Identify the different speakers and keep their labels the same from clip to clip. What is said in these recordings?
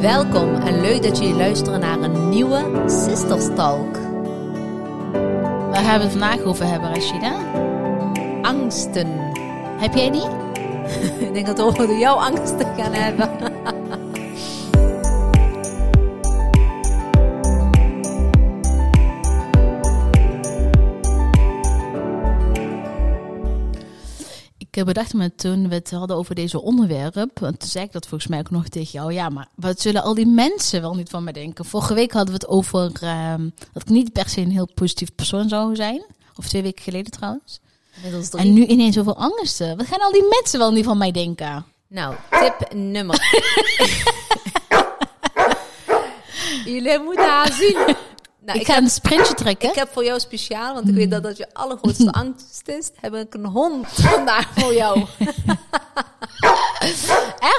Speaker 1: Welkom en leuk dat jullie luisteren naar een nieuwe Sisters Talk.
Speaker 2: Waar gaan we het vandaag over hebben, Rashida?
Speaker 1: Angsten.
Speaker 2: Heb jij die?
Speaker 1: Ik denk dat we over jouw angsten gaan hebben.
Speaker 2: Ik eh, bedacht me toen we het hadden over deze onderwerp, want toen zei ik dat volgens mij ook nog tegen jou, ja, maar wat zullen al die mensen wel niet van me denken? Vorige week hadden we het over ehm, dat ik niet per se een heel positief persoon zou zijn, of twee weken geleden trouwens.
Speaker 1: Inmiddels drie.
Speaker 2: En nu ineens zoveel angsten. Wat gaan al die mensen wel niet van mij denken?
Speaker 1: Nou, tip nummer. jullie moeten haar zien. Nou, ik,
Speaker 2: ik, ga een sprintje trekken.
Speaker 1: ik heb voor jou speciaal, want ik weet dat dat je allergrootste angst is, heb ik een hond vandaag voor jou.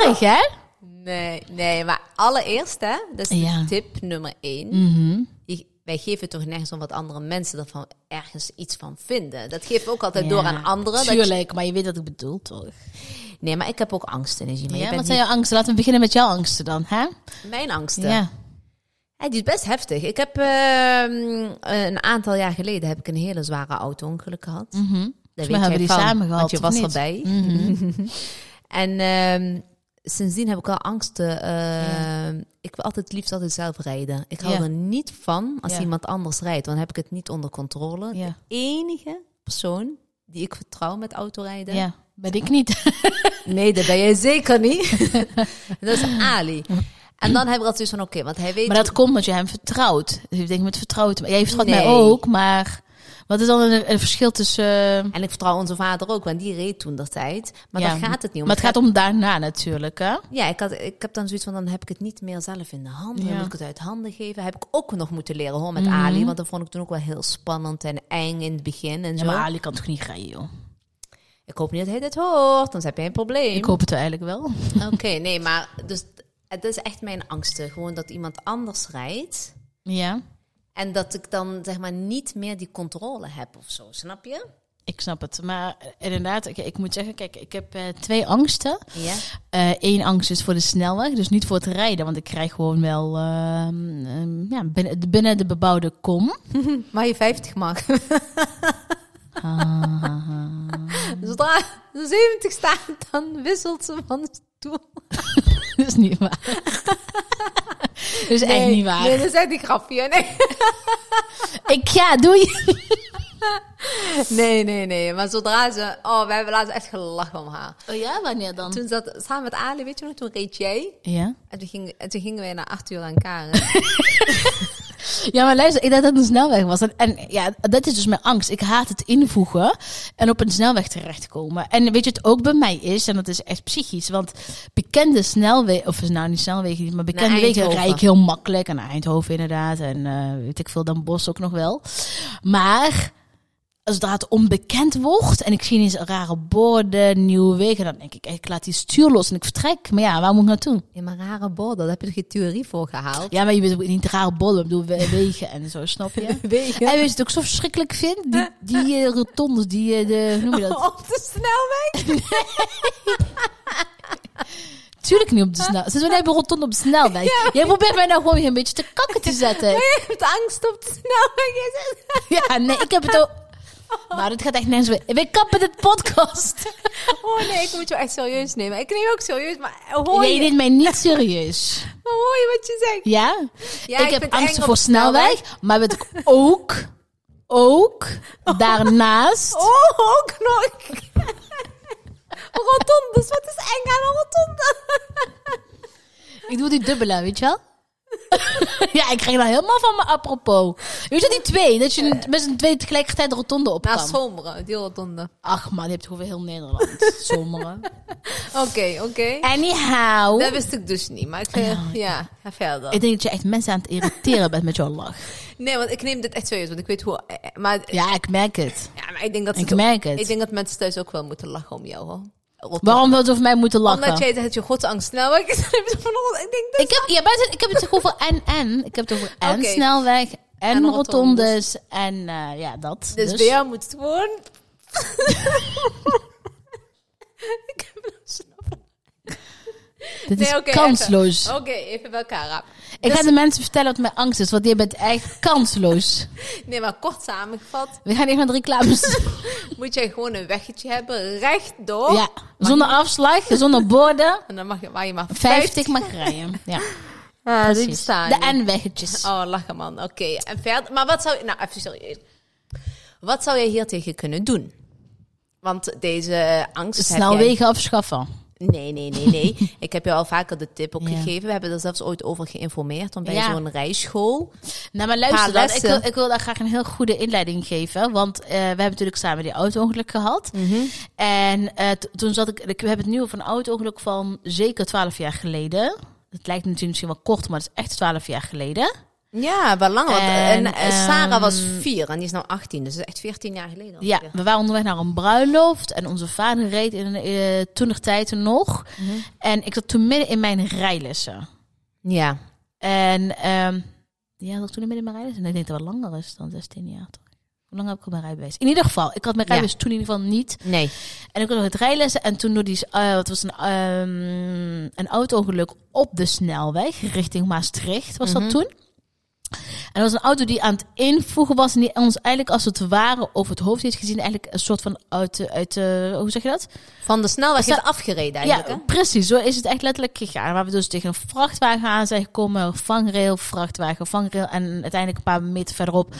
Speaker 2: Erg, hè?
Speaker 1: Nee, nee, maar allereerst, hè, dat is
Speaker 2: Ja. Mhm.
Speaker 1: tip nummer één. Je- Wij geven toch nergens om wat andere mensen ervan ergens iets van vinden. Dat geven we ook altijd door aan anderen. Dat je-
Speaker 2: Tuurlijk, maar je weet wat ik bedoel, toch?
Speaker 1: nee, maar ik heb ook angsten, Najima. Je
Speaker 2: Ja,
Speaker 1: bent
Speaker 2: wat zijn jouw angsten? Laten we beginnen met jouw angsten dan, hè?
Speaker 1: niet- mijn angsten.
Speaker 2: Ja.
Speaker 1: Ja, die is best heftig. Ik heb ehm, een aantal jaar geleden heb ik een hele zware auto-ongeluk gehad. Daar
Speaker 2: Mhm. Volgens mij hebben we die
Speaker 1: van,
Speaker 2: samen gehad,
Speaker 1: want je
Speaker 2: of
Speaker 1: was
Speaker 2: niet? Mhm.
Speaker 1: erbij. en ehm, sindsdien heb ik wel angsten. eh, Ik wil altijd het liefst altijd zelf rijden. Ik hou
Speaker 2: Ja.
Speaker 1: er niet van als
Speaker 2: Ja.
Speaker 1: iemand anders rijdt. Dan heb ik het niet onder controle.
Speaker 2: Ja.
Speaker 1: De enige persoon die ik vertrouw met autorijden...
Speaker 2: Ja, ben ik niet.
Speaker 1: Nee, dat ben jij zeker niet. dat is Ali. En dan heb ik altijd zoiets van, oké, want hij weet...
Speaker 2: Maar dat komt omdat je hem vertrouwt. Dus ik denk met vertrouwt. Jij vertrouwt mij
Speaker 1: Nee.
Speaker 2: ook, maar wat is dan een, een verschil tussen. eh,
Speaker 1: En ik vertrouw onze vader ook, want die reed toen dat tijd. Maar
Speaker 2: ja,
Speaker 1: daar gaat het niet om.
Speaker 2: Maar het gaat om daarna natuurlijk, hè?
Speaker 1: Ja, ik, had, ik heb dan zoiets van, dan heb ik het niet meer zelf in de hand. Dan
Speaker 2: Ja. Mhm.
Speaker 1: moet ik het uit handen geven. Heb ik ook nog moeten leren, hoor, met Ali. Want dat vond ik toen ook wel heel spannend en eng in het begin en
Speaker 2: Ja,
Speaker 1: zo.
Speaker 2: maar Ali kan toch niet rijden, joh?
Speaker 1: Ik hoop niet dat hij dit hoort, anders heb jij een probleem.
Speaker 2: Ik hoop het eigenlijk wel.
Speaker 1: Oké, nee, maar dus, het is echt mijn angsten. Gewoon dat iemand anders rijdt.
Speaker 2: Ja,
Speaker 1: En dat ik dan, zeg maar, niet meer die controle heb of zo. Snap je?
Speaker 2: ik snap het. Maar eh, inderdaad, ik, ik moet zeggen, kijk, ik heb eh, twee angsten.
Speaker 1: Ja.
Speaker 2: Eén angst is voor de snelweg, dus niet voor het rijden, want ik krijg gewoon wel ehm, ehm, ja, binnen, binnen de bebouwde kom.
Speaker 1: Maar je 50 mag. Ah. Zodra de 70 staat, dan wisselt ze van stoel.
Speaker 2: dat is niet waar. dat is echt niet waar.
Speaker 1: Nee, dat is echt een grapje. Nee.
Speaker 2: Ik ga, doei.
Speaker 1: nee, nee, nee. Maar zodra ze... Oh, we hebben laatst echt gelachen om haar.
Speaker 2: Oh ja, wanneer dan?
Speaker 1: Toen zat samen met Ali, weet je nog, toen reed jij.
Speaker 2: Ja.
Speaker 1: En toen, ging, en toen gingen wij naar Arthur en Karen.
Speaker 2: ja, maar luister, ik dacht dat het een snelweg was. En, en ja, dat is dus mijn angst. Ik haat het invoegen en op een snelweg terechtkomen. En weet je, het ook bij mij is, en dat is echt psychisch, want bekende snelwegen, of nou niet snelwegen niet, maar bekende
Speaker 1: Naar
Speaker 2: wegen
Speaker 1: Eindhoven.
Speaker 2: rij ik heel makkelijk. En naar Eindhoven inderdaad, en eh, weet ik veel, dan Bos ook nog wel. Maar zodra het onbekend wordt en ik zie ineens rare borden, nieuwe wegen, dan denk ik, ik laat die stuur los en ik vertrek. Maar ja, waar moet ik naartoe?
Speaker 1: Ja, maar rare borden. Daar heb je toch je theorie voor gehaald?
Speaker 2: Ja, maar je bent ook niet raar bollen. Ik bedoel, we- wegen en zo, snap je?
Speaker 1: Wegen.
Speaker 2: En weet je het ook zo verschrikkelijk vind? Die, die eh, rotondes, die, eh, de, hoe noem je dat?
Speaker 1: Op de snelweg?
Speaker 2: Tuurlijk niet op de snelweg. Ze hebben een rotonde op de snelweg. Jij probeert mij nou gewoon weer een beetje te kakken te zetten.
Speaker 1: Je hebt angst op de snelweg. is het?
Speaker 2: Ja, nee, ik heb het ook... Maar dit gaat echt nergens weer. We kappen dit podcast.
Speaker 1: Oh nee, ik moet jou echt serieus nemen. Ik neem ook serieus, maar hoor
Speaker 2: Nee,
Speaker 1: je,
Speaker 2: je neemt mij niet serieus.
Speaker 1: maar hoor je wat je zegt?
Speaker 2: Ja?
Speaker 1: Ja, ik
Speaker 2: ik
Speaker 1: vind
Speaker 2: heb
Speaker 1: het eng
Speaker 2: angsten
Speaker 1: op
Speaker 2: voor
Speaker 1: de snelweg.
Speaker 2: snelweg. Maar weet ik ook... Ook daarnaast...
Speaker 1: Oh, ook nog. rotondes, wat is eng aan een rotonde?
Speaker 2: Ik doe die dubbele, weet je wel? ja, ik kreeg dat helemaal van me apropos. Weet je die twee? Dat je met z'n twee tegelijkertijd de rotonde op
Speaker 1: Na
Speaker 2: kan.
Speaker 1: somberen, die rotonde.
Speaker 2: Ach man, je hebt gewoon heel Nederland. Zomeren.
Speaker 1: Oké, oké.
Speaker 2: Anyhow.
Speaker 1: Dat wist ik dus niet, maar ik eh, ja, ga verder.
Speaker 2: Ik denk dat je echt mensen aan het irriteren bent met jouw lach.
Speaker 1: Nee, want ik neem dit echt serieus, want ik weet hoe... eh, Maar,
Speaker 2: Ja, ik merk het.
Speaker 1: ja, maar ik denk dat ze
Speaker 2: Ik
Speaker 1: het ook-
Speaker 2: merk het.
Speaker 1: Ik denk dat mensen thuis ook wel moeten lachen om jou, hoor. Rotonde.
Speaker 2: Waarom wil ze over mij moeten
Speaker 1: Omdat
Speaker 2: lachen?
Speaker 1: jij zegt dat je godsangst snelweg is. dan heb je van, oh, ik denk dat...
Speaker 2: Ik heb, ja, buiten, ik heb het toch over en en. Ik heb het over en
Speaker 1: Oké.
Speaker 2: snelweg en,
Speaker 1: En rotondes.
Speaker 2: rotondes. en eh, ja, dat.
Speaker 1: Dus,
Speaker 2: Dus.
Speaker 1: bij jou moet het gewoon... ik heb een snel-
Speaker 2: Dit Dit is
Speaker 1: Nee, oké,
Speaker 2: kansloos.
Speaker 1: Oké, even bij elkaar rapen.
Speaker 2: Ik
Speaker 1: Dus-
Speaker 2: ga de mensen vertellen wat mijn angst is, want je bent echt kansloos.
Speaker 1: Nee, maar kort samengevat
Speaker 2: We gaan even naar de reclames. doen.
Speaker 1: moet jij gewoon een weggetje hebben, rechtdoor.
Speaker 2: ja, zonder afslag, zonder borden.
Speaker 1: En dan mag je, waar je maar
Speaker 2: 50 magarijen. Ja,
Speaker 1: Ah, die
Speaker 2: precies.
Speaker 1: bestaan
Speaker 2: De
Speaker 1: niet.
Speaker 2: N-weggetjes.
Speaker 1: Oh, lachen man. Oké, en verder. Maar wat zou... Nou, even serieus. Wat zou jij hier tegen kunnen doen? Want deze angst... heb
Speaker 2: Snel
Speaker 1: jij-
Speaker 2: wegen afschaffen.
Speaker 1: Nee, nee, nee, nee. Ik heb je al vaker de tip ook
Speaker 2: Ja.
Speaker 1: gegeven. We hebben er zelfs ooit over geïnformeerd. Want bij
Speaker 2: Ja.
Speaker 1: zo'n rijschool...
Speaker 2: Nou, maar
Speaker 1: Paar
Speaker 2: luister dan. Ik wil,
Speaker 1: lessen.
Speaker 2: ik wil daar graag een heel goede inleiding geven. Want eh, we hebben natuurlijk samen die auto-ongeluk gehad. En eh, t- toen zat ik... ik- We hebben het nu over een auto-ongeluk van zeker 12 jaar geleden. Het lijkt natuurlijk misschien wel kort, maar het is echt 12 jaar geleden.
Speaker 1: Oh, Ja, wel lang. want- En,
Speaker 2: En,
Speaker 1: eh, Sarah
Speaker 2: ehm,
Speaker 1: was vier en die is nou 18. Dus dat is echt 14 jaar geleden.
Speaker 2: Ja,
Speaker 1: alweer.
Speaker 2: we waren onderweg naar een bruiloft en onze vader reed in eh toenertijd nog. En ik zat toen midden in mijn rijlessen.
Speaker 1: Ja.
Speaker 2: En ehm ja, dat ik toen midden in mijn rijlessen. En ik denk dat het wel langer is dan 16 jaar. toch? Hoe lang heb ik al mijn rijbewijs? In ieder geval, ik had mijn
Speaker 1: Ja.
Speaker 2: rijbewijs toen in ieder geval niet.
Speaker 1: Nee.
Speaker 2: En ik had nog het rijlessen. En toen door die, eh, wat was een, ehm een auto-ongeluk op de snelweg richting Maastricht, was dat toen. En dat was een auto die aan het invoegen was en die ons eigenlijk als het ware over het hoofd heeft gezien. Eigenlijk een soort van uit, de- uit de, hoe zeg je dat?
Speaker 1: Van de snelweg is
Speaker 2: Sa-
Speaker 1: afgereden eigenlijk. hè?
Speaker 2: Ja, precies. Zo is het echt letterlijk gegaan. Waar we dus tegen een vrachtwagen aan zijn gekomen. Vangrail, vrachtwagen, vangrail. En uiteindelijk een paar meter verderop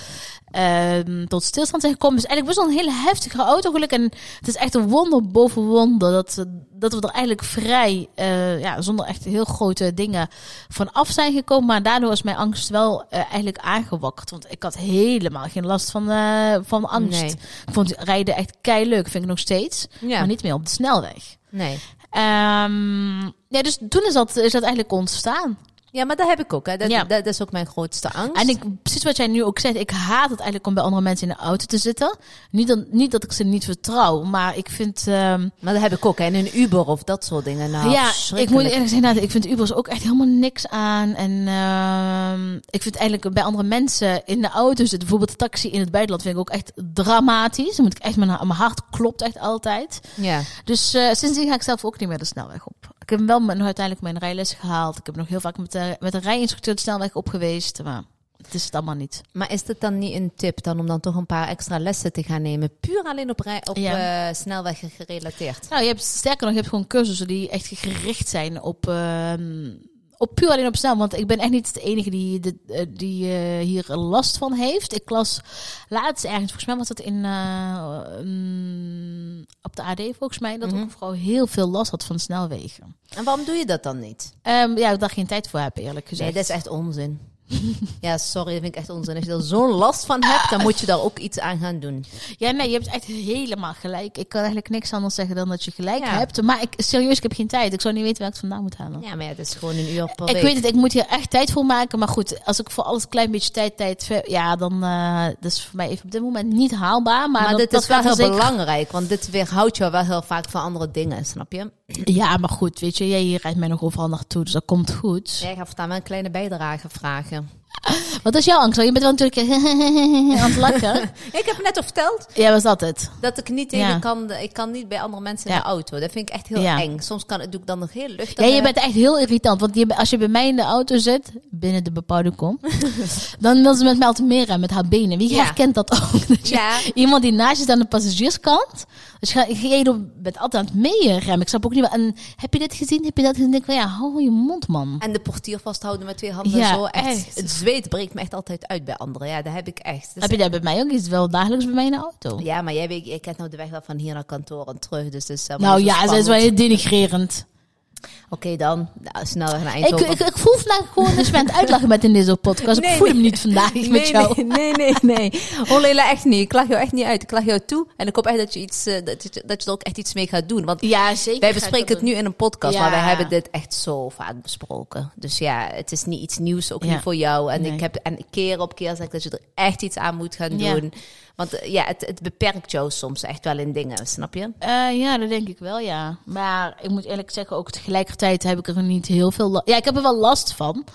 Speaker 2: ehm, tot stilstand zijn gekomen. Dus eigenlijk best wel een hele heftige autogeluk. En het is echt een wonder boven wonder dat, eh, dat we er eigenlijk vrij, eh, ja, zonder echt heel grote dingen van af zijn gekomen. Maar daardoor is mijn angst wel eh, eigenlijk aangewakkerd. Want ik had helemaal geen last van, eh, van angst.
Speaker 1: Nee.
Speaker 2: Ik vond rijden echt kei leuk. Vind ik nog steeds.
Speaker 1: Ja.
Speaker 2: Maar niet meer op de snelweg.
Speaker 1: Nee.
Speaker 2: Ehm, ja, dus toen is dat, is dat eigenlijk ontstaan.
Speaker 1: Ja, maar dat heb ik ook. Hè. Dat,
Speaker 2: Ja.
Speaker 1: dat, dat is ook mijn grootste angst.
Speaker 2: En ik, precies wat jij nu ook zegt, ik haat het eigenlijk om bij andere mensen in de auto te zitten. Niet, dan, niet dat ik ze niet vertrouw, maar ik vind... ehm,
Speaker 1: Maar dat heb ik ook. hè. En een Uber of dat soort dingen. Nou,
Speaker 2: ja, ik
Speaker 1: verschrikkelijk.
Speaker 2: moet eerlijk zeggen, nou, ik vind Ubers ook echt helemaal niks aan. En ehm, ik vind eigenlijk bij andere mensen in de auto zitten, bijvoorbeeld de taxi in het buitenland, vind ik ook echt dramatisch. Dan moet ik echt, mijn, mijn hart klopt echt altijd.
Speaker 1: Ja.
Speaker 2: Dus eh, sindsdien ga ik zelf ook niet meer de snelweg op. Ik heb wel mijn, uiteindelijk mijn rijles gehaald. Ik heb nog heel vaak met de, met de rijinstructeur de snelweg op geweest. Maar het is het allemaal niet.
Speaker 1: Maar is dat dan niet een tip dan om dan toch een paar extra lessen te gaan nemen? Puur alleen op, rij, op
Speaker 2: Ja.
Speaker 1: eh, snelweg gerelateerd.
Speaker 2: Nou, je hebt, sterker nog, je hebt gewoon cursussen die echt gericht zijn op, ehm, op puur alleen op snel. Want ik ben echt niet de enige die, dit, eh, die eh, hier last van heeft. Ik las laatst ergens, volgens mij was dat in, eh, mm, op de AD volgens mij, dat ook een vrouw heel veel last had van snelwegen.
Speaker 1: En waarom doe je dat dan niet?
Speaker 2: Ehm, ja, ik daar geen tijd voor heb, eerlijk
Speaker 1: Nee,
Speaker 2: gezegd.
Speaker 1: dat is Dus echt onzin. ja, sorry, dat vind ik echt onzin. Als je er zo'n last van hebt, dan moet je daar ook iets aan gaan doen.
Speaker 2: Ja, nee, je hebt echt helemaal gelijk. Ik kan eigenlijk niks anders zeggen dan dat je gelijk
Speaker 1: Ja.
Speaker 2: hebt. Maar ik, serieus, ik heb geen tijd. Ik zou niet weten waar ik het vandaan moet halen.
Speaker 1: Ja, maar ja, het is gewoon een uur per
Speaker 2: ik
Speaker 1: week.
Speaker 2: weet het, ik moet hier echt tijd voor maken. Maar goed, als ik voor alles een klein beetje tijd, tijd... ver- Ja, dan eh dat is voor mij even op dit moment niet haalbaar. Maar,
Speaker 1: maar
Speaker 2: dat,
Speaker 1: dit
Speaker 2: dat
Speaker 1: is wel
Speaker 2: gaat er
Speaker 1: heel
Speaker 2: zeker-
Speaker 1: belangrijk, want dit weerhoudt jou wel heel vaak van andere dingen, snap je?
Speaker 2: Ja, maar goed, weet je. Jij rijdt mij nog overal naartoe, dus dat komt goed.
Speaker 1: Jij gaat daar wel een kleine bijdrage vragen.
Speaker 2: Wat is jouw angst? Want Je bent wel natuurlijk aan het lachen.
Speaker 1: Ik heb net al verteld
Speaker 2: ja, was dat het?
Speaker 1: dat ik niet tegen
Speaker 2: Ja.
Speaker 1: kan, ik kan niet bij andere mensen in
Speaker 2: Ja.
Speaker 1: de auto. Dat vind ik echt heel
Speaker 2: Ja.
Speaker 1: eng. Soms kan, doe ik dan nog heel luchtig.
Speaker 2: Ja, je bent echt heel irritant. Want je, als je bij mij in de auto zit, binnen de bepaalde kom, dan wil ze met mij altijd meer aan met haar benen. Wie
Speaker 1: Ja.
Speaker 2: herkent dat ook? Dat je-
Speaker 1: Ja.
Speaker 2: Iemand die naast je zit aan de passagierskant. Dus je, gaat- jij doet- bent altijd aan het meeremmen. Ik snap ook niet waar- En heb je dit gezien? Heb je dat gezien? Ik denk van ja, hou je mond, man.
Speaker 1: En de portier vasthouden met twee handen
Speaker 2: Ja,
Speaker 1: zo. Echt.
Speaker 2: echt.
Speaker 1: Het zweet breekt me echt altijd uit bij anderen. Ja, dat heb ik echt. Dus-
Speaker 2: Heb je dat bij mij ook? Is het wel dagelijks bij mij in de auto?
Speaker 1: ja, maar jij weet, ik ken nou de weg wel van hier naar kantoor en terug. Dus dat is helemaal
Speaker 2: Nou
Speaker 1: niet zo
Speaker 2: ja, dat is wel
Speaker 1: spannend.
Speaker 2: heel denigrerend.
Speaker 1: Oké, dan. Nou, snelweg naar
Speaker 2: Ik,
Speaker 1: Eindhoven.
Speaker 2: ik, ik voel vandaag gewoon dat je me aan het uitlachen bent in deze podcast.
Speaker 1: Nee,
Speaker 2: ik voel
Speaker 1: nee.
Speaker 2: hem niet vandaag met jou.
Speaker 1: nee, nee, nee, nee. Oh, Leila, echt niet. Ik lach jou echt niet uit. Ik lach jou toe. En ik hoop echt dat je, iets, eh, dat je, dat je er ook echt iets mee gaat doen. Want
Speaker 2: Ja, zeker.
Speaker 1: wij bespreken het nu in een podcast,
Speaker 2: Ja.
Speaker 1: maar wij hebben dit echt zo vaak besproken. Dus ja, het is niet iets nieuws, ook
Speaker 2: Ja.
Speaker 1: niet voor jou. En
Speaker 2: Nee.
Speaker 1: ik heb en keer op keer zeg ik dat je er echt iets aan moet gaan
Speaker 2: Ja.
Speaker 1: doen. Want eh, ja, het, het beperkt jou soms echt wel in dingen, snap je?
Speaker 2: Eh, ja, dat denk ik wel, ja. Maar ik moet eerlijk zeggen, ook tegelijkertijd heb ik er niet heel veel last... Ja, ik heb er wel last van.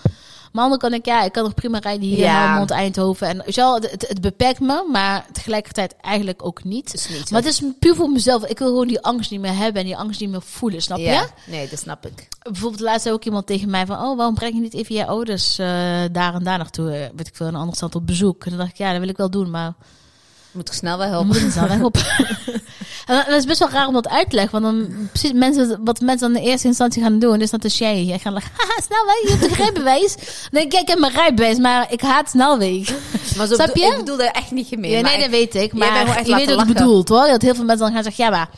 Speaker 2: Maar dan kan ik, ja, ik kan nog prima rijden hier
Speaker 1: Ja.
Speaker 2: in Helmond, Eindhoven. En weet je wel, het, het beperkt me, maar tegelijkertijd eigenlijk ook niet.
Speaker 1: is niet.
Speaker 2: Maar het is puur voor mezelf. Ik wil gewoon die angst niet meer hebben en die angst niet meer voelen, snap je?
Speaker 1: ja. Nee, dat snap ik.
Speaker 2: Bijvoorbeeld laatst zei ook iemand tegen mij van... Oh, waarom breng je niet even je ouders eh, daar en daar naartoe? eh, Weet ik veel, een ander stand op bezoek. En dan dacht ik, ja, dat wil ik wel doen, maar...
Speaker 1: Moet ik snel wel
Speaker 2: Dan
Speaker 1: helpen.
Speaker 2: moet ik dan op. en dat is best wel raar om dat uit te leggen. Want dan precies mensen, wat mensen dan in eerste instantie gaan doen, is dat de jij. Jij gaat lachen, haha, snelweg, je hebt een rijbewijs. Dan denk ik, ja, ik heb mijn rijbewijs, maar ik haat snelweg.
Speaker 1: Maar zo
Speaker 2: Snap
Speaker 1: bedoel-
Speaker 2: je?
Speaker 1: ik bedoel daar echt niet gemeen.
Speaker 2: ja,
Speaker 1: maar
Speaker 2: nee, dat
Speaker 1: ik-
Speaker 2: weet ik.
Speaker 1: bent gewoon echt
Speaker 2: Maar je weet
Speaker 1: laten
Speaker 2: wat ik
Speaker 1: lachen.
Speaker 2: bedoel, hoor. Dat heel veel mensen dan gaan zeggen, ja, maar...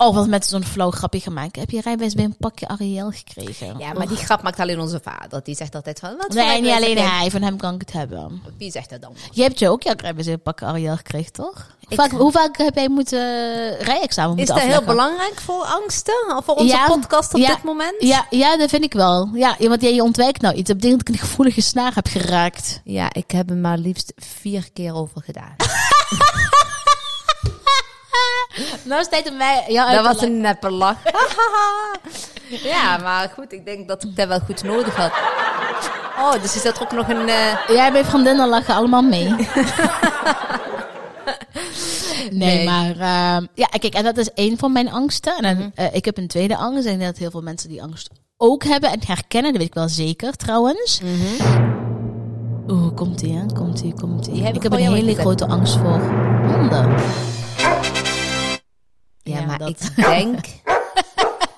Speaker 2: Oh, wat met zo'n flauw grapje gemaakt. Heb je je rijbewijs bij een pakje Ariel gekregen?
Speaker 1: ja, maar die grap maakt alleen onze vader. Die zegt altijd van... Wat voor
Speaker 2: Nee, niet
Speaker 1: rijbewijs
Speaker 2: alleen
Speaker 1: heb jij?
Speaker 2: hij. Van hem kan ik het hebben.
Speaker 1: Wie zegt dat dan?
Speaker 2: Je hebt je ook jouw rijbewijs bij een pakje Ariel gekregen, toch?
Speaker 1: Ik-
Speaker 2: Vaak, hoe vaak heb jij moeten eh, rijexamen
Speaker 1: Is
Speaker 2: moeten
Speaker 1: dat heel
Speaker 2: afleggen?
Speaker 1: belangrijk voor angsten? Of voor onze
Speaker 2: Ja,
Speaker 1: podcast op
Speaker 2: ja,
Speaker 1: dit moment?
Speaker 2: Ja, ja, dat vind ik wel. Ja, ja, want jij je ontwijkt nou iets. Dat betekent dat ik een gevoelige snaar heb geraakt.
Speaker 1: Ja, ik heb er maar liefst vier keer over gedaan.
Speaker 2: Nou is het tijd om mij jou uit
Speaker 1: dat
Speaker 2: te
Speaker 1: was
Speaker 2: leggen.
Speaker 1: een neppe lach. ja, maar goed, ik denk dat ik dat wel goed nodig had. Oh, dus is dat ook nog een... eh,
Speaker 2: Jij en mijn vriendinnen lachen allemaal mee. nee,
Speaker 1: Nee.
Speaker 2: maar... ehm, ja, kijk, en dat is één van mijn angsten. En dan, eh, ik heb een tweede angst. En ik denk dat heel veel mensen die angst ook hebben en herkennen. Dat weet ik wel zeker, trouwens. Oeh, komt-ie, hè? Komt-ie,
Speaker 1: Die
Speaker 2: komt-ie.
Speaker 1: heb ik
Speaker 2: Ik Mhm. heb een
Speaker 1: voor jou
Speaker 2: hele
Speaker 1: ingezet.
Speaker 2: grote angst voor honden.
Speaker 1: Ja,
Speaker 2: Ja,
Speaker 1: maar
Speaker 2: dat.
Speaker 1: ik denk...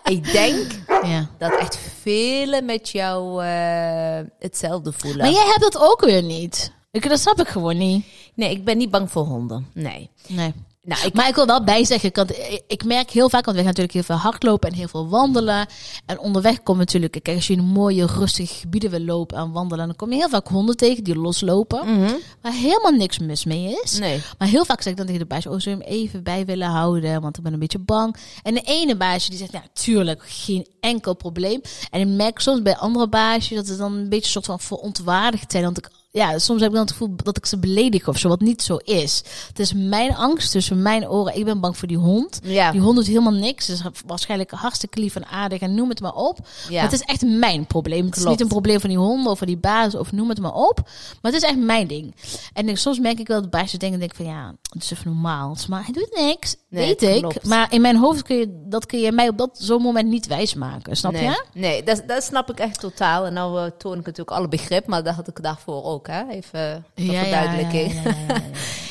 Speaker 1: ik denk
Speaker 2: Ja.
Speaker 1: dat echt velen met jou eh, hetzelfde voelen.
Speaker 2: Maar jij hebt dat ook weer niet. Ik, dat snap ik gewoon niet.
Speaker 1: Nee, ik ben niet bang voor honden. Nee.
Speaker 2: Nee.
Speaker 1: Nou, ik...
Speaker 2: Maar ik wil wel bijzeggen, want ik- ik merk heel vaak, want we gaan natuurlijk heel veel hardlopen en heel veel wandelen. En onderweg komen natuurlijk, kijk, als je in mooie, rustige gebieden wil lopen en wandelen, dan kom je heel vaak honden tegen die loslopen. Waar helemaal niks mis mee is.
Speaker 1: Nee.
Speaker 2: Maar heel vaak zeg ik dan tegen de baasje, oh, zou je hem even bij willen houden? Want ik ben een beetje bang. En de ene baasje die zegt, ja, tuurlijk, geen enkel probleem. En ik merk soms bij andere baasjes dat ze dan een beetje soort van verontwaardigd zijn. Want ik, ja, soms heb ik dan het gevoel dat ik ze beledig of zo, wat niet zo is. Het is mijn angst tussen mijn oren. Ik ben bang voor die hond.
Speaker 1: Ja.
Speaker 2: Die hond doet helemaal niks. Ze is waarschijnlijk hartstikke lief en aardig en noem het maar op.
Speaker 1: Ja.
Speaker 2: Maar het is echt mijn probleem. Het is
Speaker 1: Klopt.
Speaker 2: niet een probleem van die honden of van die baas of noem het maar op. Maar het is echt mijn ding. En ik- soms merk ik wel dat baasjes denken, denk ik van ja, het is even normaal. Maar hij doet niks,
Speaker 1: Nee,
Speaker 2: weet ik.
Speaker 1: klopt.
Speaker 2: Maar in mijn hoofd kun je, dat kun je mij op dat zo'n moment niet wijsmaken. Snap
Speaker 1: nee,
Speaker 2: je?
Speaker 1: Nee, dat, dat snap ik echt totaal. En nou eh, toon ik natuurlijk alle begrip, maar dat had ik daarvoor ook, hè? Even eh, voor verduidelijking.
Speaker 2: ja, ja, ja, ja.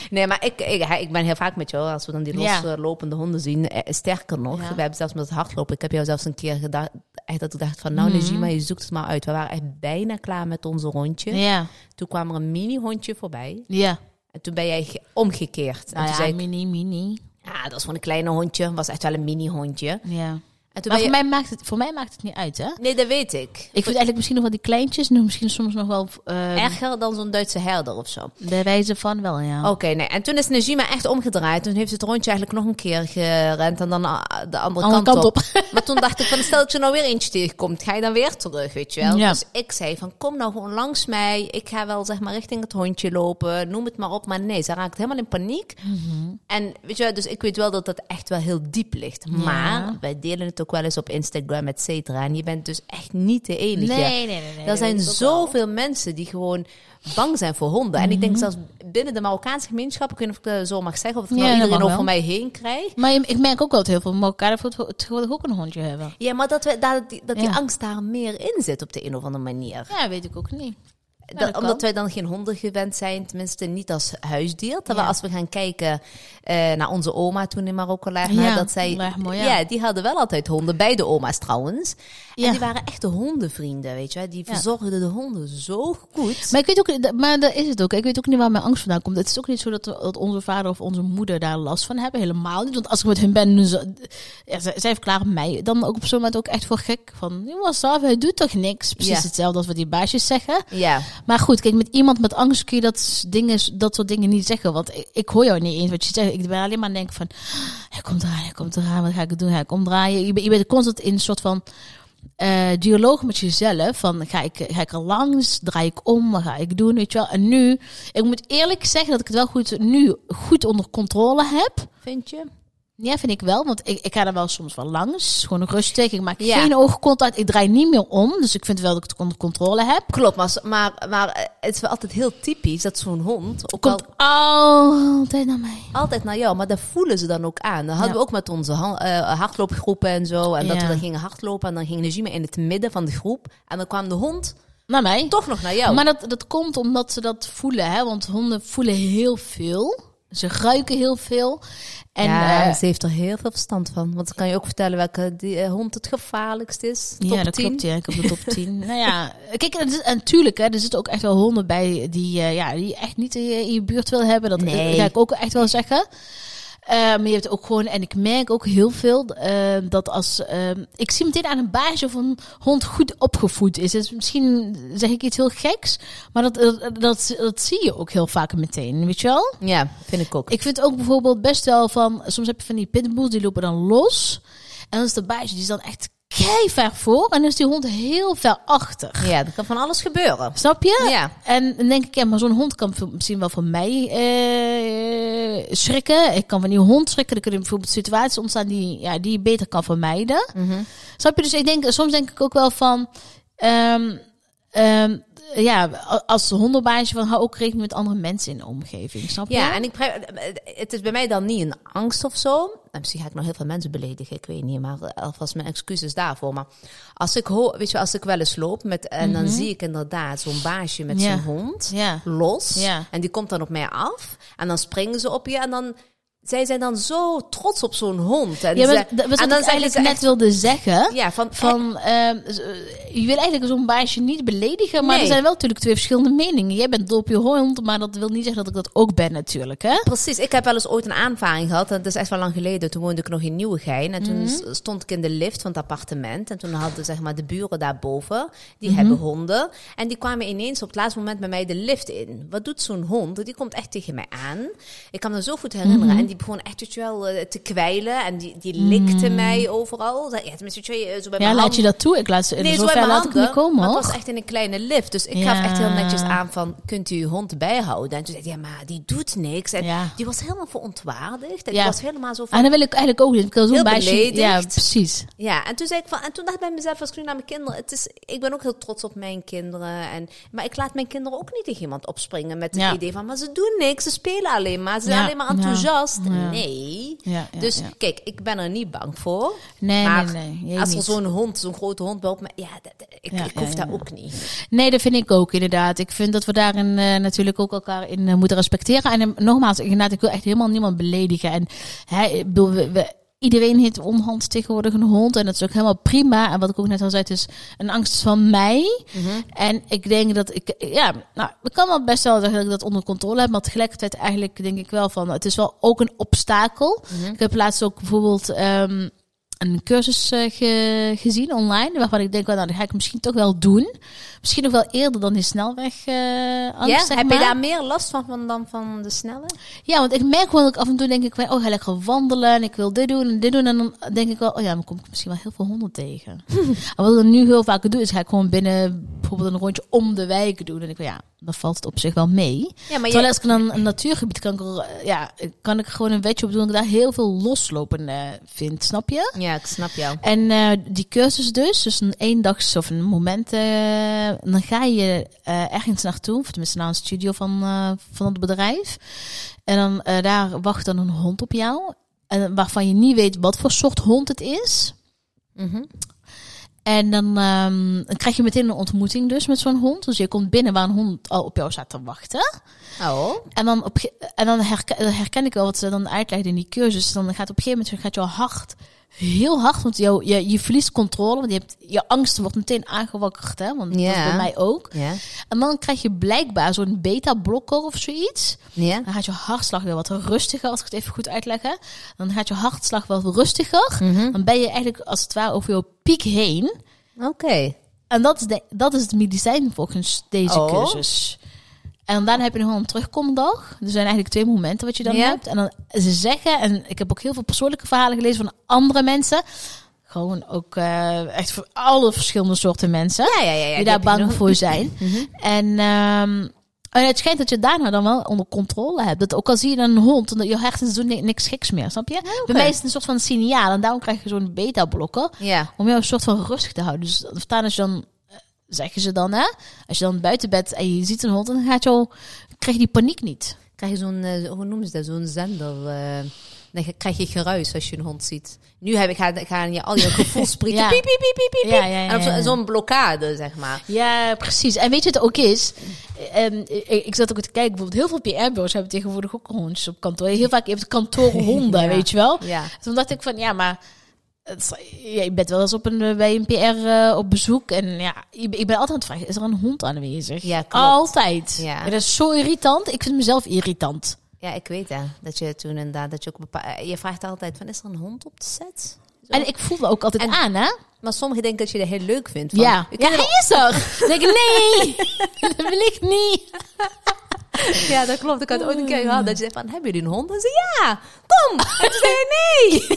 Speaker 1: Nee, maar ik, ik, hè, ik ben heel vaak met jou, als we dan die
Speaker 2: Ja.
Speaker 1: loslopende honden zien, eh, sterker nog,
Speaker 2: Ja.
Speaker 1: we hebben zelfs met het hardlopen, ik heb jou zelfs een keer gedacht, echt dat ik dacht van, nou
Speaker 2: Mhm.
Speaker 1: Najima, je zoekt het maar uit. We waren echt bijna klaar met onze rondje.
Speaker 2: Ja,
Speaker 1: Toen kwam er een mini-hondje voorbij
Speaker 2: ja.
Speaker 1: en toen ben jij ge- omgekeerd. en
Speaker 2: Nou
Speaker 1: toen
Speaker 2: ja,
Speaker 1: zei ik,
Speaker 2: mini, mini.
Speaker 1: ah, dat is gewoon een kleine hondje, was echt wel een mini-hondje.
Speaker 2: Ja.
Speaker 1: En toen
Speaker 2: Maar
Speaker 1: ben
Speaker 2: voor,
Speaker 1: je...
Speaker 2: mij maakt het, voor mij maakt het niet uit, hè?
Speaker 1: Nee, dat weet ik.
Speaker 2: Ik vind eigenlijk misschien nog wel die kleintjes, nog misschien soms nog wel eh
Speaker 1: Erger dan zo'n Duitse herder of zo.
Speaker 2: bij wijze van wel, ja.
Speaker 1: Oké, nee. En toen is Najima echt omgedraaid. Toen heeft ze het rondje eigenlijk nog een keer gerend en dan ah, de andere,
Speaker 2: Andere
Speaker 1: kant,
Speaker 2: kant
Speaker 1: op.
Speaker 2: op.
Speaker 1: Maar toen dacht ik van, stel dat je nou weer eentje tegenkomt, ga je dan weer terug, weet je wel?
Speaker 2: Ja.
Speaker 1: Dus ik zei van, kom nou gewoon langs mij. Ik ga wel zeg maar richting het hondje lopen, noem het maar op. Maar nee, ze raakt helemaal in paniek.
Speaker 2: Mhm.
Speaker 1: En weet je wel, dus ik weet wel dat dat echt wel heel diep ligt. Maar wij delen het ook wel eens op Instagram, et cetera. En je bent dus echt niet de
Speaker 2: nee,
Speaker 1: enige.
Speaker 2: nee, nee, nee.
Speaker 1: Er zijn
Speaker 2: dat is ook wel- Mhm.
Speaker 1: zoveel mensen die gewoon bang zijn voor honden. En ik denk zelfs binnen de Marokkaanse gemeenschap, ik weet niet of ik dat zo mag zeggen, of ik
Speaker 2: Ja,
Speaker 1: nou
Speaker 2: dat
Speaker 1: iedereen
Speaker 2: mag
Speaker 1: over
Speaker 2: wel.
Speaker 1: mij heen krijg.
Speaker 2: Maar je- ik merk ook wel dat heel veel Marokkanen bijvoorbeeld tegenwoordig ook een hondje hebben.
Speaker 1: Ja, maar dat, we, dat, die, dat die
Speaker 2: Ja.
Speaker 1: angst daar meer in zit op de een of andere manier.
Speaker 2: Ja, weet ik ook niet.
Speaker 1: Dat-
Speaker 2: dat kan.
Speaker 1: omdat wij dan geen honden gewend zijn, tenminste niet als huisdier. Terwijl
Speaker 2: Ja.
Speaker 1: als we gaan kijken eh, naar onze oma toen in Marokko, laag,
Speaker 2: Ja,
Speaker 1: dat zij,
Speaker 2: laag mooi, ja.
Speaker 1: ja, die hadden wel altijd honden, beide oma's trouwens. En
Speaker 2: Ja.
Speaker 1: die waren echte hondenvrienden, weet je. wel. Die
Speaker 2: Ja.
Speaker 1: verzorgden de honden zo goed.
Speaker 2: Maar ik weet ook, dat- maar daar is het ook. Ik weet ook niet waar mijn angst vandaan komt. Het is ook niet zo dat, we- dat onze vader of onze moeder daar last van hebben. Helemaal niet. Want als ik met hun ben, ze- ja, zij, zij verklaren mij dan ook op zo'n moment ook echt voor gek. Van, "Joh, wat af, hij doet toch niks? Precies
Speaker 1: Ja.
Speaker 2: hetzelfde als wat die baasjes zeggen.
Speaker 1: Ja.
Speaker 2: Maar goed, kijk, met iemand met angst kun je dat, s- dingen, dat soort dingen niet zeggen. Want ik, ik hoor jou niet eens wat je zegt. Ik ben alleen maar aan het denken van... Hij komt eraan, hij komt eraan, wat ga ik doen? Hij komt draaien. Je, bent- je bent constant in een soort van eh, dialoog met jezelf. Van, ga ik, ga ik er langs? Draai ik om? Wat ga ik doen? Weet je wel? En nu, ik moet eerlijk zeggen dat ik het wel goed, nu goed onder controle heb.
Speaker 1: Vind je?
Speaker 2: Ja, vind ik wel, want ik, ik ga er wel soms wel langs. Gewoon rustig. Ik maak
Speaker 1: Ja.
Speaker 2: geen oogcontact. Ik draai niet meer om. Dus ik vind wel dat ik het onder controle heb.
Speaker 1: Klopt, maar, maar, maar eh, het is wel altijd heel typisch dat zo'n hond ook
Speaker 2: Komt
Speaker 1: al-
Speaker 2: altijd naar mij.
Speaker 1: altijd naar jou, maar dat voelen ze dan ook aan. Dat hadden
Speaker 2: Ja.
Speaker 1: we ook met onze han- eh, hardloopgroepen en zo. En dat
Speaker 2: Ja.
Speaker 1: we dan gingen hardlopen en dan ging Najima in het midden van de groep. En dan kwam de hond
Speaker 2: Naar mij.
Speaker 1: toch nog naar jou.
Speaker 2: Maar dat, dat komt omdat ze dat voelen, hè? Want honden voelen heel veel. Ze ruiken heel veel. En
Speaker 1: ja,
Speaker 2: eh,
Speaker 1: ze heeft er heel veel verstand van. Want ze kan je ook vertellen welke die, eh, hond het gevaarlijkst is. Top
Speaker 2: ja, dat
Speaker 1: 10.
Speaker 2: klopt. Ja, ik heb de top 10. nou ja, kijk, en het is- en natuurlijk, hè, er zitten ook echt wel honden bij die, eh, ja, die je echt niet in je, in je buurt wil hebben. Dat
Speaker 1: Nee.
Speaker 2: ga ik ook echt wel zeggen. Eh, maar je hebt ook gewoon, en ik merk ook heel veel eh, dat als. eh, ik zie meteen aan een baasje of een hond goed opgevoed is. Dus misschien zeg ik iets heel geks, maar dat, dat, dat, dat zie je ook heel vaak meteen, weet je wel?
Speaker 1: Ja, vind ik ook.
Speaker 2: Ik vind ook bijvoorbeeld best wel van... Soms heb je van die pitbulls, die lopen dan los. En dan is de baasje, die is dan echt ver voor. En dan is die hond heel ver achter.
Speaker 1: Ja, er kan van alles gebeuren.
Speaker 2: Snap je?
Speaker 1: Ja.
Speaker 2: En dan denk ik, ja, maar zo'n hond kan veel- misschien wel van mij eh, schrikken. Ik kan van die hond schrikken. Er kunnen bijvoorbeeld situaties ontstaan die, ja, die je beter kan vermijden.
Speaker 1: Mhm.
Speaker 2: Snap je? Dus ik denk, soms denk ik ook wel van... ehm, ehm, ja, a- als hondenbaasje van hou ook rekening met andere mensen in de omgeving. Snap je?
Speaker 1: Ja, en ik begrijp- eh, het is bij mij dan niet een angst of zo. En misschien ga ik nog heel veel mensen beledigen, ik weet niet. Maar alvast mijn excuses daarvoor. Maar als ik, ho weet je, wel, als ik wel eens loop met, en dan zie ik inderdaad zo'n baasje met
Speaker 2: Mhm. Ja.
Speaker 1: zijn hond
Speaker 2: Ja.
Speaker 1: los.
Speaker 2: Ja.
Speaker 1: En die komt dan op mij af. En dan springen ze op je. En dan, zij zijn dan zo trots op zo'n hond. En,
Speaker 2: Ja,
Speaker 1: ze-
Speaker 2: maar dat- wat
Speaker 1: en dan
Speaker 2: ik
Speaker 1: zeggen
Speaker 2: eigenlijk
Speaker 1: ze
Speaker 2: net
Speaker 1: echt-
Speaker 2: wilde zeggen.
Speaker 1: ja, van,
Speaker 2: Van, ehm, z- eh, je wil eigenlijk zo'n baasje niet beledigen, maar
Speaker 1: Nee.
Speaker 2: er zijn wel natuurlijk twee verschillende meningen. Jij bent dol op je hond, maar dat wil niet zeggen dat ik dat ook ben natuurlijk, hè?
Speaker 1: Precies, ik heb wel eens ooit een aanvaring gehad. En dat is echt wel lang geleden. Toen woonde ik nog in Nieuwegein. En toen
Speaker 2: Mhm.
Speaker 1: s- stond ik in de lift van het appartement. En toen hadden zeg maar, de buren daarboven, die
Speaker 2: Mhm.
Speaker 1: hebben honden. En die kwamen ineens op het laatste moment bij mij de lift in. Wat doet zo'n hond? Die komt echt tegen mij aan. Ik kan me zo goed herinneren.
Speaker 2: Mhm.
Speaker 1: En die begon echt weet je wel, eh, te kwijlen. En die, die likte mij overal. Ja, tenminste, weet je, eh, zo bij
Speaker 2: Ja,
Speaker 1: mijn
Speaker 2: laat je
Speaker 1: handen.
Speaker 2: dat toe. Ik laat ze,
Speaker 1: Nee, zo in
Speaker 2: zover
Speaker 1: mijn
Speaker 2: Dus laat ik
Speaker 1: handen.
Speaker 2: niet komen,
Speaker 1: maar het
Speaker 2: hoor.
Speaker 1: was echt in een kleine lift. Dus ik gaf
Speaker 2: Ja.
Speaker 1: echt heel netjes aan van, kunt u uw hond bijhouden? En toen zei hij, ja, maar die doet niks. En
Speaker 2: Ja.
Speaker 1: die was helemaal verontwaardigd. En
Speaker 2: Ja.
Speaker 1: die was helemaal zo van...
Speaker 2: En Ah, dan wil ik eigenlijk ook niet. Ik wil zo'n
Speaker 1: Heel
Speaker 2: baasje... Ja,
Speaker 1: beledigd.
Speaker 2: precies.
Speaker 1: Ja, en toen zei ik van... En toen dacht ik bij mezelf, als ik nu naar mijn kinderen... Het is, ik ben ook heel trots op mijn kinderen. En, maar ik laat mijn kinderen ook niet tegen iemand opspringen met het
Speaker 2: Ja.
Speaker 1: idee van... Maar ze doen niks, ze spelen alleen maar. Ze zijn
Speaker 2: Ja,
Speaker 1: alleen maar
Speaker 2: ja,
Speaker 1: enthousiast.
Speaker 2: ja.
Speaker 1: Nee.
Speaker 2: Ja, ja,
Speaker 1: dus
Speaker 2: ja.
Speaker 1: kijk, ik ben er niet bang voor.
Speaker 2: Nee,
Speaker 1: maar
Speaker 2: nee, nee. jij
Speaker 1: als er
Speaker 2: niet.
Speaker 1: zo'n hond, zo'n grote hond bij op me... Ja, dat- dat- ik,
Speaker 2: Ja,
Speaker 1: ik hoef
Speaker 2: ja,
Speaker 1: daar
Speaker 2: ja.
Speaker 1: ook niet.
Speaker 2: Nee, dat vind ik ook inderdaad. Ik vind dat we daarin eh, natuurlijk ook elkaar in eh, moeten respecteren. En eh, nogmaals, inderdaad, ik wil echt helemaal niemand beledigen. En hè, ik bedoel, we, we- iedereen heeft onhand tegenwoordig een hond. En dat is ook helemaal prima. En wat ik ook net al zei, het is een angst van mij. En ik denk dat ik, ja, nou, ik kan wel best wel zeggen dat ik dat onder controle heb. Maar tegelijkertijd eigenlijk denk ik wel van, het is wel ook een obstakel. Ik heb laatst ook bijvoorbeeld... ehm, een cursus eh, ge- gezien online. Waarvan ik denk, wel, nou, dat ga ik misschien toch wel doen. Misschien nog wel eerder dan die snelweg. eh angst,
Speaker 1: Ja,
Speaker 2: zeg
Speaker 1: heb
Speaker 2: maar.
Speaker 1: je daar meer last van, van dan van de snelle?
Speaker 2: ja, want ik merk gewoon dat ik af en toe denk ik, van, oh, ga lekker wandelen. En ik wil dit doen en dit doen. En dan denk ik wel, oh ja, dan kom ik misschien wel heel veel honden tegen. en wat ik dan nu heel vaak doe, is ga ik gewoon binnen bijvoorbeeld een rondje om de wijk doen. En ik denk, ja, dan valt het op zich wel mee.
Speaker 1: Ja, maar
Speaker 2: Terwijl als ik dan een natuurgebied kan, ik er, eh, ja, kan ik er gewoon een wedje op doen. Dat ik daar heel veel loslopen eh, vind, snap je?
Speaker 1: Ja, ik snap jou.
Speaker 2: En eh, die cursus dus, dus een eendags of een moment, eh, dan ga je eh, ergens naartoe, of tenminste naar een studio van, eh, van het bedrijf. En dan eh, daar wacht dan een hond op jou, en, waarvan je niet weet wat voor soort hond het is.
Speaker 1: Mhm.
Speaker 2: En dan, ehm, dan krijg je meteen een ontmoeting dus met zo'n hond. Dus je komt binnen waar een hond al op jou staat te wachten.
Speaker 1: Oh.
Speaker 2: En dan, op, ge- en dan herken, dan herken ik wel wat ze dan uitlegden in die cursus. Dan gaat op een gegeven moment gaat jouw hart heel hard, want jou, je, je verliest controle. Want je, hebt, je angst wordt meteen aangewakkerd, hè? want dat
Speaker 1: Ja.
Speaker 2: is bij mij ook.
Speaker 1: Ja.
Speaker 2: En dan krijg je blijkbaar zo'n beta-blokker of zoiets.
Speaker 1: Ja.
Speaker 2: Dan gaat je hartslag weer wat rustiger, als ik het even goed uitleg. hè. Dan gaat je hartslag wat rustiger. Dan ben je eigenlijk als het ware over jouw piek heen.
Speaker 1: Oké.
Speaker 2: En dat is, de, dat is het medicijn volgens deze
Speaker 1: Oh.
Speaker 2: cursus. En daarna heb je nog wel een terugkomdag. Er zijn eigenlijk twee momenten wat je dan
Speaker 1: Ja.
Speaker 2: hebt. En dan ze zeggen, en ik heb ook heel veel persoonlijke verhalen gelezen van andere mensen. Gewoon ook eh, echt voor alle verschillende soorten mensen
Speaker 1: Ja, ja, ja. ja
Speaker 2: die
Speaker 1: die
Speaker 2: daar
Speaker 1: heb je
Speaker 2: bang
Speaker 1: nog.
Speaker 2: voor zijn. En ehm, En het schijnt dat je het daarna dan wel onder controle hebt. Dat ook al zie je dan een hond, omdat je hersenen doen ni- niks geks meer, snap je? Bij mij is het een soort van signaal en daarom krijg je zo'n beta-blokker
Speaker 1: Ja.
Speaker 2: om jou een soort van rustig te houden. Dus vandaar als je dan, eh, zeggen ze dan hè, als je dan buiten bent en je ziet een hond, dan gaat jou, krijg je die paniek niet.
Speaker 1: Krijg je zo'n, eh, hoe noemen ze dat, zo'n zender... eh, dan ge- krijg je geruis als je een hond ziet. Nu heb ik, gaan, gaan je al je gevoelsprieten.
Speaker 2: Ja.
Speaker 1: Piep, piep, piep, piep, piep,
Speaker 2: Ja, ja, ja,
Speaker 1: En op zo-
Speaker 2: ja.
Speaker 1: zo'n blokkade, zeg maar.
Speaker 2: Ja, precies. En weet je wat het ook is? Ehm, ik, ik zat ook te kijken, bijvoorbeeld heel veel PR-bureaus hebben tegenwoordig ook hondjes op kantoor. Heel vaak heeft het kantoor honden,
Speaker 1: Ja.
Speaker 2: weet je wel?
Speaker 1: Ja.
Speaker 2: Toen dacht ik van, ja, maar het is- ja, je bent wel eens op een, eh, bij een PR eh, op bezoek. En ja, ik ik ben altijd aan het vragen, is er een hond aanwezig?
Speaker 1: Ja, klopt.
Speaker 2: Altijd.
Speaker 1: Ja.
Speaker 2: Dat is zo irritant. Ik vind mezelf irritant.
Speaker 1: Ja, ik weet hè. Dat je toen inderdaad, dat je ook bepa- eh, Je vraagt altijd van, is er een hond op de set?
Speaker 2: En ik voel me ook altijd
Speaker 1: En-
Speaker 2: aan, hè?
Speaker 1: Maar sommigen denken dat je dat heel leuk vindt. Van,
Speaker 2: Ja.
Speaker 1: "U
Speaker 2: Ja,
Speaker 1: kunt
Speaker 2: hij is er! Dan denk ik, nee! dat wil ik niet.
Speaker 1: Ja, dat klopt. Ik had ooit een keer gehad dat je zei van, hebben jullie een hond? En ze ja, kom! En toen zei je, nee!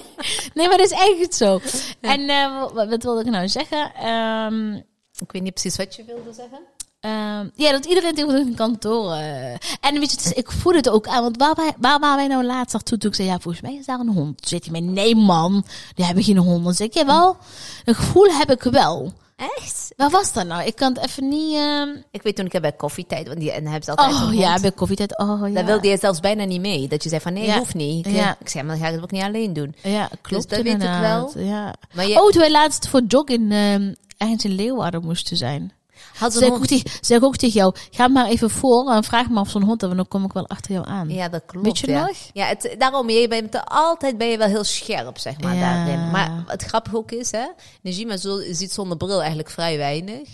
Speaker 2: Nee, maar dat is echt goed zo. En eh, wat, wat wilde ik nou zeggen? Ehm,
Speaker 1: Ik weet niet precies wat je wilde zeggen.
Speaker 2: ehm, ja, dat iedereen tegenwoordig een kantoor... eh, en weet je, het is- ik voel het ook aan. Want waar, wij- waar waren wij nou laatst naartoe toen ik zei... Ja, volgens mij is daar een hond. Toen zei hij mij, nee man, die hebben geen hond. Dan zeg ik, jawel, een gevoel heb ik wel.
Speaker 1: Echt?
Speaker 2: Waar was dat nou? Ik kan het even niet... ehm,
Speaker 1: Ik weet toen ik bij koffietijd, want die en dan hebben ze altijd
Speaker 2: Oh
Speaker 1: een
Speaker 2: ja,
Speaker 1: hond.
Speaker 2: bij koffietijd. Oh ja.
Speaker 1: Daar wilde je zelfs bijna niet mee. Dat je zei van, nee,
Speaker 2: Ja.
Speaker 1: hoeft niet. Ik,
Speaker 2: Ja.
Speaker 1: ik zei, maar dan ga ik het ook niet alleen doen.
Speaker 2: Ja, klopt
Speaker 1: Dus dat weet ik
Speaker 2: inderdaad. Ja.
Speaker 1: Maar je-
Speaker 2: Oh, toen wij laatst voor jog in... ehm ergens in Leeuwarden moesten zijn.
Speaker 1: Had ze
Speaker 2: Zeg
Speaker 1: een
Speaker 2: ik, ook
Speaker 1: hond?
Speaker 2: tegen, zeg ik ook tegen jou, ga maar even voor en vraag me of zo'n hond, want dan kom ik wel achter jou aan.
Speaker 1: Ja, dat klopt.
Speaker 2: Weet je
Speaker 1: ja.
Speaker 2: nog?
Speaker 1: Ja, het, daarom, je bent er- altijd ben je wel heel scherp, zeg maar,
Speaker 2: Ja.
Speaker 1: daarin. Maar het grappige ook is, hè, Najima zo- ziet zonder bril eigenlijk vrij weinig.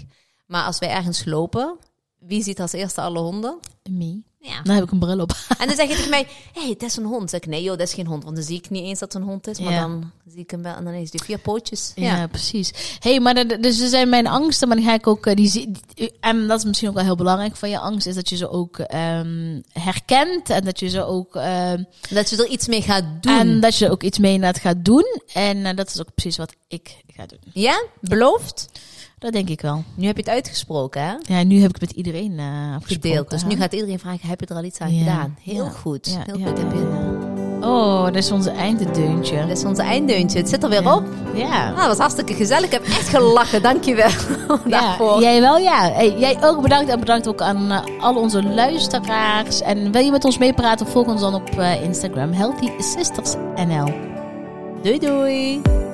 Speaker 1: Maar als wij ergens lopen, wie ziet als eerste alle honden?
Speaker 2: Mie.
Speaker 1: Ja.
Speaker 2: Dan heb ik een bril op.
Speaker 1: En dan zeg je tegen mij, hé, hey, dat is een hond. Dan zeg ik, nee joh, dat is geen hond. Want dan zie ik niet eens dat het een hond is. Maar
Speaker 2: Ja.
Speaker 1: dan zie ik hem wel en dan is die vier pootjes.
Speaker 2: Ja, precies. hey, maar dat- dus er zijn mijn angsten, maar dan ga ik ook... eh, Die, zie- die- en dat is misschien ook wel heel belangrijk van je angst, is dat je ze ook ehm, herkent en dat je ze ook... ehm,
Speaker 1: Dat je er iets mee gaat doen.
Speaker 2: En dat je er ook iets mee inderdaad gaat doen. En eh, dat is ook precies wat ik ga doen.
Speaker 1: Ja, beloofd.
Speaker 2: Dat denk ik wel.
Speaker 1: Nu heb je het uitgesproken, hè?
Speaker 2: Ja, nu heb ik het met iedereen eh, afgesproken.
Speaker 1: Gedeeld. Dus
Speaker 2: hè?
Speaker 1: nu gaat iedereen vragen, heb je er al iets aan
Speaker 2: Ja.
Speaker 1: gedaan? Heel
Speaker 2: Ja.
Speaker 1: goed.
Speaker 2: Ja,
Speaker 1: Heel
Speaker 2: ja,
Speaker 1: goed. heb je-
Speaker 2: ja, ja. Oh, dat is onze eindedeuntje.
Speaker 1: Dat is ons einddeuntje. Het zit er weer op.
Speaker 2: Ja.
Speaker 1: Nou, dat was hartstikke gezellig. Ik heb echt gelachen. Dankjewel daarvoor.
Speaker 2: Ja, jij wel, ja. Hey, jij ook bedankt en bedankt ook aan eh, al onze luisteraars. En wil je met ons meepraten, volg ons dan op eh, Instagram Healthy Sisters NL.
Speaker 1: Doei doei.